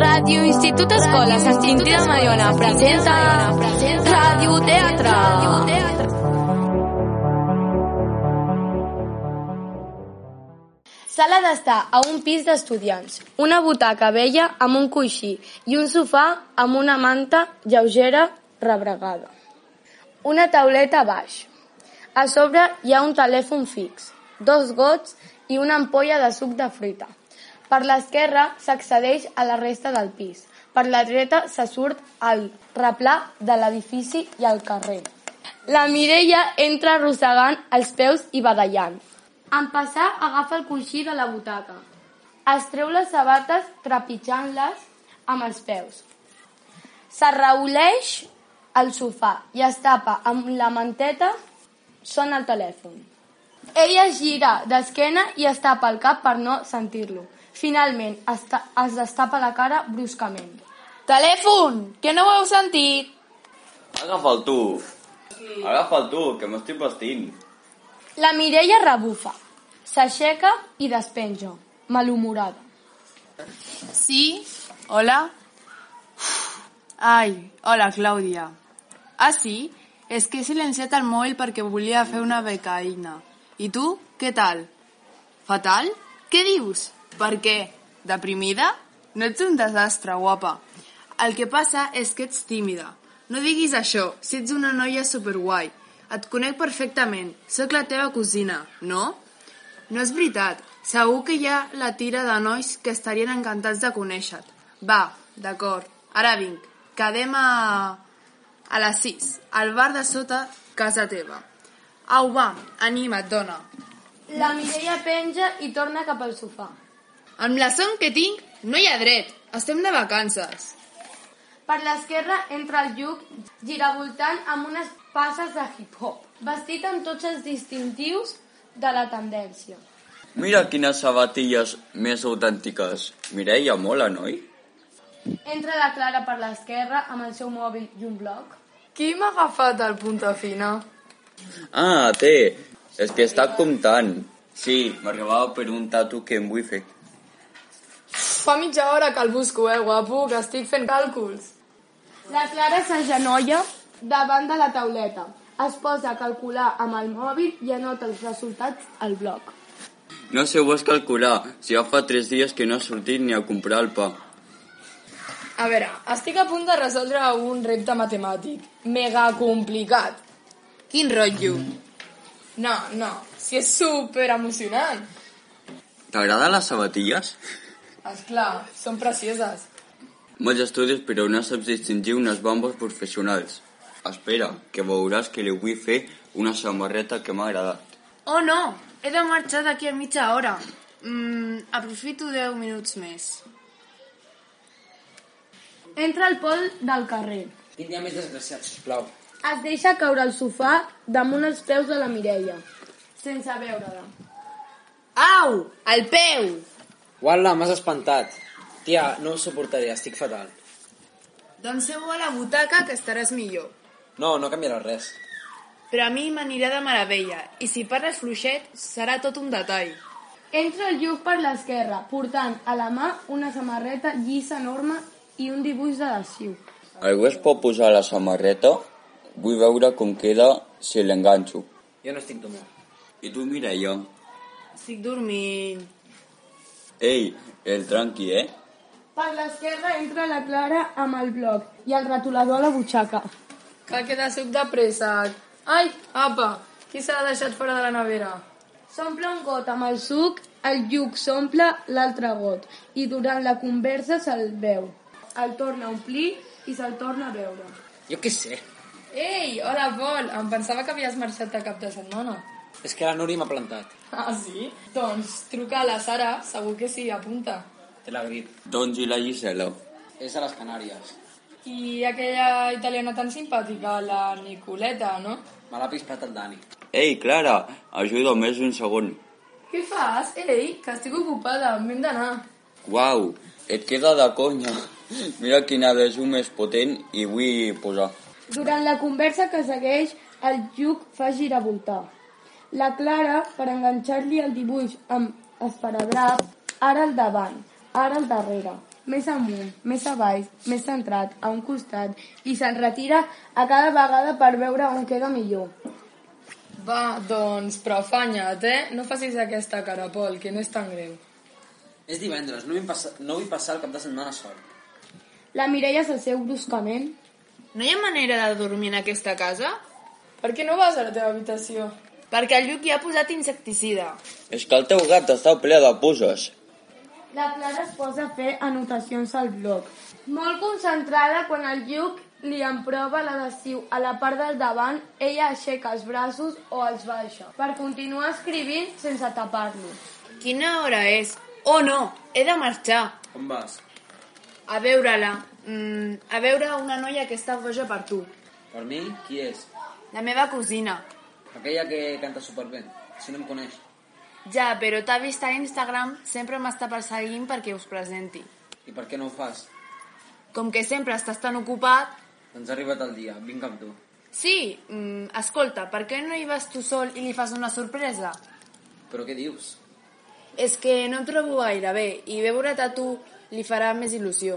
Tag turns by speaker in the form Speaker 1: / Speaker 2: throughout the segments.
Speaker 1: Ràdio Institut Escola Sant Quintí de Mediona presenta Ràdio Teatre.
Speaker 2: Sala d'estar a un pis d'estudiants, una butaca vella amb un coixí i un sofà amb una manta lleugera rebregada. Una tauleta a baix. A sobre hi ha un telèfon fix, dos gots i una ampolla de suc de fruita. Per l'esquerra s'accedeix a la resta del pis. Per la dreta se surt al replà de l'edifici i al carrer. La Mireia entra arrossegant els peus i badallant. En passar agafa el coixí de la butaca. Es treu les sabates trepitjant-les amb els peus. S'arrauleix al sofà i es tapa amb la manteta. Sona el telèfon. Ella es gira d'esquena i es tapa el cap per no sentir-lo. Finalment, es, ta- es destapa la cara bruscament.
Speaker 1: Telèfon, que no ho heu sentit?
Speaker 3: Agafa'l tu. Agafa'l tu, que m'estic vestint.
Speaker 2: La Mireia rebufa, s'aixeca i despenja, malhumorada.
Speaker 4: Sí, hola. Ai, hola, Clàudia. Ah, sí? És que he silenciat el mòbil perquè volia fer una becaïna. I tu, què tal? Fatal? Què dius? Per què? Deprimida? No ets un desastre, guapa. El que passa és que ets tímida. No diguis això, si ets una noia superguai. Et conec perfectament, sóc la teva cosina, no? No és veritat. Segur que hi ha la tira de nois que estarien encantats de conèixer-te. Va, d'acord. Ara vinc. Quedem a... a les 6, al bar de sota casa teva. Au, va, anima't, dona.
Speaker 2: La Mireia penja i torna cap al sofà.
Speaker 4: Amb la son que tinc, no hi ha dret. Estem de vacances.
Speaker 2: Per l'esquerra entra el lluc, giravoltant amb unes passes de hip-hop, vestit amb tots els distintius de la tendència.
Speaker 3: Mira quines sabatilles més autèntiques. Mireia, mola, noi?
Speaker 2: Entra la Clara per l'esquerra amb el seu mòbil i un bloc.
Speaker 4: Qui m'ha agafat el punta fina?
Speaker 3: Ah, té. És que està comptant. Sí, m'arribava per un tatu que em vull fer.
Speaker 4: Fa mitja hora que el busco, eh, guapo, que estic fent càlculs.
Speaker 2: La Clara s'agenolla davant de la tauleta. Es posa a calcular amb el mòbil i anota els resultats al bloc.
Speaker 3: No sé, ho has calcular. Si ja fa tres dies que no has sortit ni a comprar el pa.
Speaker 4: A veure, estic a punt de resoldre un repte matemàtic. Mega complicat. Quin rotllo? No, no, si és super emocionant.
Speaker 3: T'agraden les sabatilles?
Speaker 4: Esclar, són precioses.
Speaker 3: Molts estudis, però no saps distingir unes bambes professionals. Espera, que veuràs que li vull fer una samarreta que m'ha agradat.
Speaker 4: Oh no, he de marxar d'aquí a mitja hora. Mm, aprofito 10 minuts més.
Speaker 2: Entra al pol del carrer.
Speaker 5: Quin dia més desgraciat, sisplau.
Speaker 2: Es deixa caure al sofà damunt els peus de la Mireia, sense veure-la.
Speaker 4: Au, al peu!
Speaker 5: Uala, m'has espantat. Tia, no ho suportaré, estic fatal.
Speaker 4: Doncs seu a la butaca que estaràs millor.
Speaker 5: No, no canviarà res.
Speaker 4: Però a mi m'anirà de meravella i si parles fluixet serà tot un detall.
Speaker 2: Entra el lluc per l'esquerra, portant a la mà una samarreta llisa enorme i un dibuix d'adhesiu.
Speaker 3: Algú es pot posar la samarreta? Vull veure com queda si l'enganxo.
Speaker 5: Jo no estic d'humor.
Speaker 3: I tu, Mireia?
Speaker 4: Estic dormint.
Speaker 3: Ei, el tranqui, eh?
Speaker 2: Per l'esquerra entra la Clara amb el bloc i el retolador a la butxaca.
Speaker 4: Cal que de suc de pressa. Ai, apa, qui s'ha deixat fora de la nevera?
Speaker 2: S'omple un got amb el suc, el lluc s'omple l'altre got i durant la conversa se'l veu. El torna a omplir i se'l torna a veure.
Speaker 5: Jo què sé.
Speaker 4: Ei, hola, Pol, em pensava que havies marxat de cap de setmana.
Speaker 5: És que la Núria m'ha plantat.
Speaker 4: Ah, sí? Doncs truca a la Sara, segur que sí, apunta.
Speaker 5: Té la grip.
Speaker 3: Doncs i la Gisela?
Speaker 5: És a les Canàries.
Speaker 4: I aquella italiana tan simpàtica, la Nicoleta, no?
Speaker 5: Me l'ha pispat el Dani.
Speaker 3: Ei, Clara, ajuda més un segon.
Speaker 4: Què fas? Ei, que estic ocupada, m'hem d'anar.
Speaker 3: Uau, et queda de conya. Mira quin adhesiu més potent i vull posar.
Speaker 2: Durant la conversa que segueix, el lluc fa giravoltar. La Clara, per enganxar-li el dibuix amb esparadrap, ara al davant, ara al darrere, més amunt, més avall, més centrat, a un costat, i se'n retira a cada vegada per veure on queda millor.
Speaker 6: Va, doncs, però afanya't, eh? No facis aquesta cara, Pol, que no és tan greu.
Speaker 5: És divendres, no vull, passar, no vull passar el cap de setmana sol.
Speaker 2: La Mireia s'asseu bruscament.
Speaker 4: No hi ha manera de dormir en aquesta casa?
Speaker 6: Per què no vas a la teva habitació?
Speaker 4: Perquè el Lluc hi ha posat insecticida.
Speaker 3: És que el teu gat està ple de puces.
Speaker 2: La Clara es posa a fer anotacions al bloc. Molt concentrada quan el Lluc li emprova l'adhesiu a la part del davant, ella aixeca els braços o els baixa per continuar escrivint sense tapar-lo.
Speaker 4: Quina hora és? Oh, no, he de marxar.
Speaker 5: On vas?
Speaker 4: A veure-la. Mm, a veure una noia que està boja per tu.
Speaker 5: Per mi? Qui és?
Speaker 4: La meva cosina.
Speaker 5: Aquella que canta superbé, si no em coneix.
Speaker 4: Ja, però t'ha vist a Instagram, sempre m'està perseguint perquè us presenti.
Speaker 5: I per què no ho fas?
Speaker 4: Com que sempre estàs tan ocupat...
Speaker 5: Ens Doncs ha arribat el dia, vinc amb tu.
Speaker 4: Sí, mm, escolta, per què no hi vas tu sol i li fas una sorpresa?
Speaker 5: Però què dius?
Speaker 4: És que no em trobo gaire bé i veure't a tu li farà més il·lusió.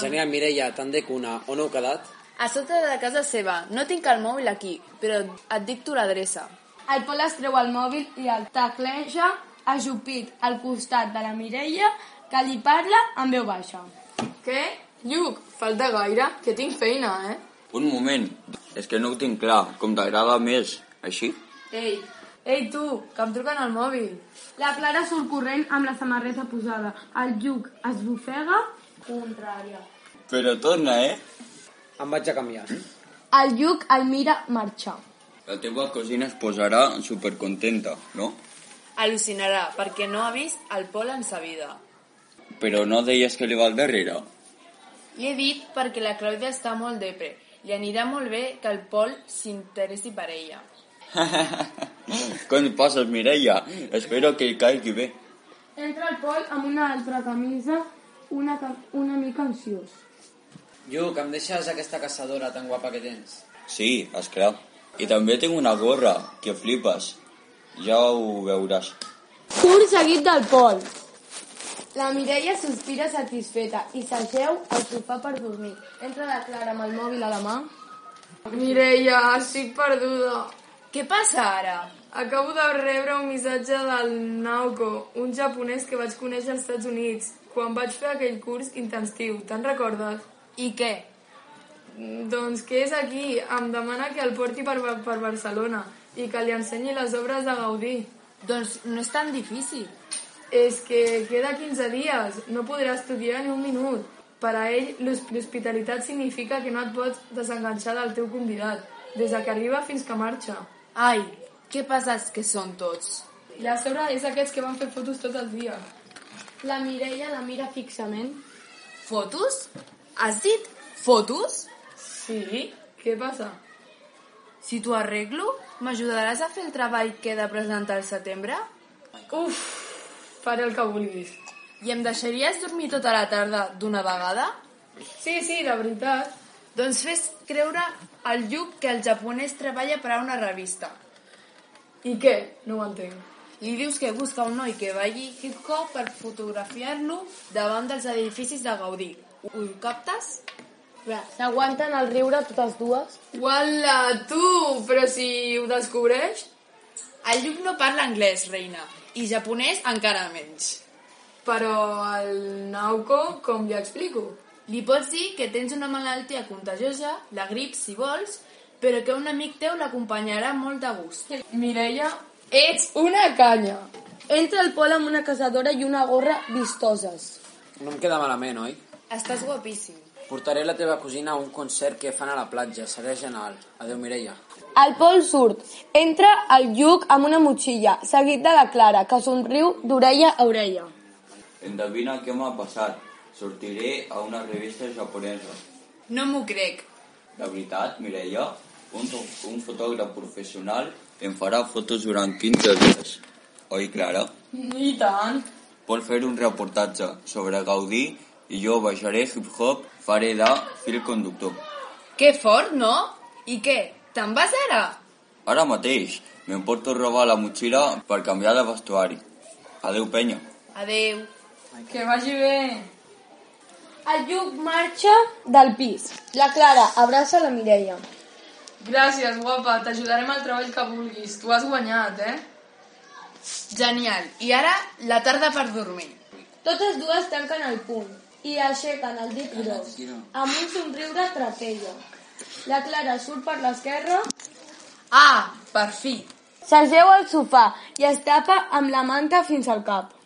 Speaker 5: Genial, Mireia, tant de cuna. On heu quedat?
Speaker 4: A sota de casa seva. No tinc el mòbil aquí, però et dicto l'adreça.
Speaker 2: El Pol es treu el mòbil i el tecleja ajupit al costat de la Mireia que li parla amb veu baixa.
Speaker 6: Què? Lluc, falta gaire, que tinc feina, eh?
Speaker 3: Un moment, és que no ho tinc clar, com t'agrada més, així?
Speaker 6: Ei, ei tu, que em truquen al mòbil.
Speaker 2: La Clara surt corrent amb la samarreta posada. El Lluc es bufega contrària.
Speaker 3: Però torna, eh?
Speaker 5: Em vaig a canviar.
Speaker 2: El Lluc el mira marxar.
Speaker 3: La teva cosina es posarà supercontenta, no?
Speaker 4: Al·lucinarà, perquè no ha vist el Pol en sa vida.
Speaker 3: Però no deies que li va al darrere.
Speaker 4: Li he dit perquè la Clàudia està molt depre. Li anirà molt bé que el Pol s'interessi per ella.
Speaker 3: Com passes, Mireia? Espero que hi caigui bé.
Speaker 2: Entra el Pol amb una altra camisa, una, ca- una mica ansiós.
Speaker 5: Lluc, em deixes aquesta caçadora tan guapa que tens?
Speaker 3: Sí, esclar. I també tinc una gorra, que flipes. Ja ho veuràs.
Speaker 2: Curt seguit del Pol. La Mireia sospira satisfeta i s'aixeu al sofà per dormir. Entra la Clara amb el mòbil a la mà.
Speaker 6: Mireia, estic perduda.
Speaker 4: Què passa ara?
Speaker 6: Acabo de rebre un missatge del Naoko, un japonès que vaig conèixer als Estats Units, quan vaig fer aquell curs intensiu. Te'n recordes?
Speaker 4: I què?
Speaker 6: Mm, Doncs que és aquí. Em demana que el porti per, Ba- per Barcelona i que li ensenyi les obres de Gaudí.
Speaker 4: Doncs no és tan difícil.
Speaker 6: És que queda 15 dies, no podrà estudiar ni un minut. Per a ell, l'hos- l'hospitalitat significa que no et pots desenganxar del teu convidat, des de que arriba fins que marxa.
Speaker 4: Ai, què pesats que són tots.
Speaker 6: I a sobre és aquests que van fer fotos tot el dia.
Speaker 2: La Mireia la mira fixament.
Speaker 4: Fotos? Has dit fotos?
Speaker 6: Sí? Què passa?
Speaker 4: Si t'ho arreglo, m'ajudaràs a fer el treball que he de presentar al setembre?
Speaker 6: Uf, faré el que vulguis.
Speaker 4: I em deixaries dormir tota la tarda d'una vegada?
Speaker 6: Sí, sí, de veritat.
Speaker 4: Doncs fes creure al Lluc que el japonès treballa per a una revista.
Speaker 6: I què? No ho entenc.
Speaker 4: Li dius que busca un noi que balli hip-hop per fotografiar-lo davant dels edificis de Gaudí. Ho captes?
Speaker 2: Clar, S'aguanten el riure totes dues.
Speaker 6: Uala, tu! Però si ho descobreix?
Speaker 4: El Lluc no parla anglès, reina, i japonès encara menys.
Speaker 6: Però el Nauco, com li explico?
Speaker 4: Li pots dir que tens una malaltia contagiosa, la grip, si vols, però que un amic teu l'acompanyarà molt de gust.
Speaker 6: Mireia, ets una canya.
Speaker 2: Entra el Pol amb una caçadora i una gorra vistoses.
Speaker 5: No em queda malament, oi?
Speaker 4: Estàs guapíssim.
Speaker 5: Portaré la teva cosina a un concert que fan a la platja. Serà genial. Adéu, Mireia.
Speaker 2: El Pol surt. Entra el Lluc amb una motxilla, seguit de la Clara, que somriu d'orella a orella.
Speaker 3: Endevina què m'ha passat. Sortiré a una revista japonesa.
Speaker 4: No m'ho crec.
Speaker 3: De veritat, Mireia, un, to- un fotògraf professional em farà fotos durant 15 dies. Oi, Clara?
Speaker 6: I tant.
Speaker 3: Vol fer un reportatge sobre Gaudí i jo baixaré hip-hop, faré de fil conductor.
Speaker 4: Que fort, no? I què? Te'n vas ara?
Speaker 3: Ara mateix m'emporto roba a la motxilla per canviar de vestuari. Adeu, penya.
Speaker 4: Adeu.
Speaker 6: Que vagi bé.
Speaker 2: El Lluc marxa del pis. La Clara abraça la Mireia.
Speaker 6: Gràcies, guapa, t'ajudarem al treball que vulguis. Tu has guanyat, eh?
Speaker 4: Genial. I ara, la tarda per dormir.
Speaker 2: Totes dues tanquen el puny i aixequen el dit gros, amb un somriure trapella. La Clara surt per l'esquerra,
Speaker 4: Ah, per fi.
Speaker 2: s'asseu al sofà i es tapa amb la manta fins al cap.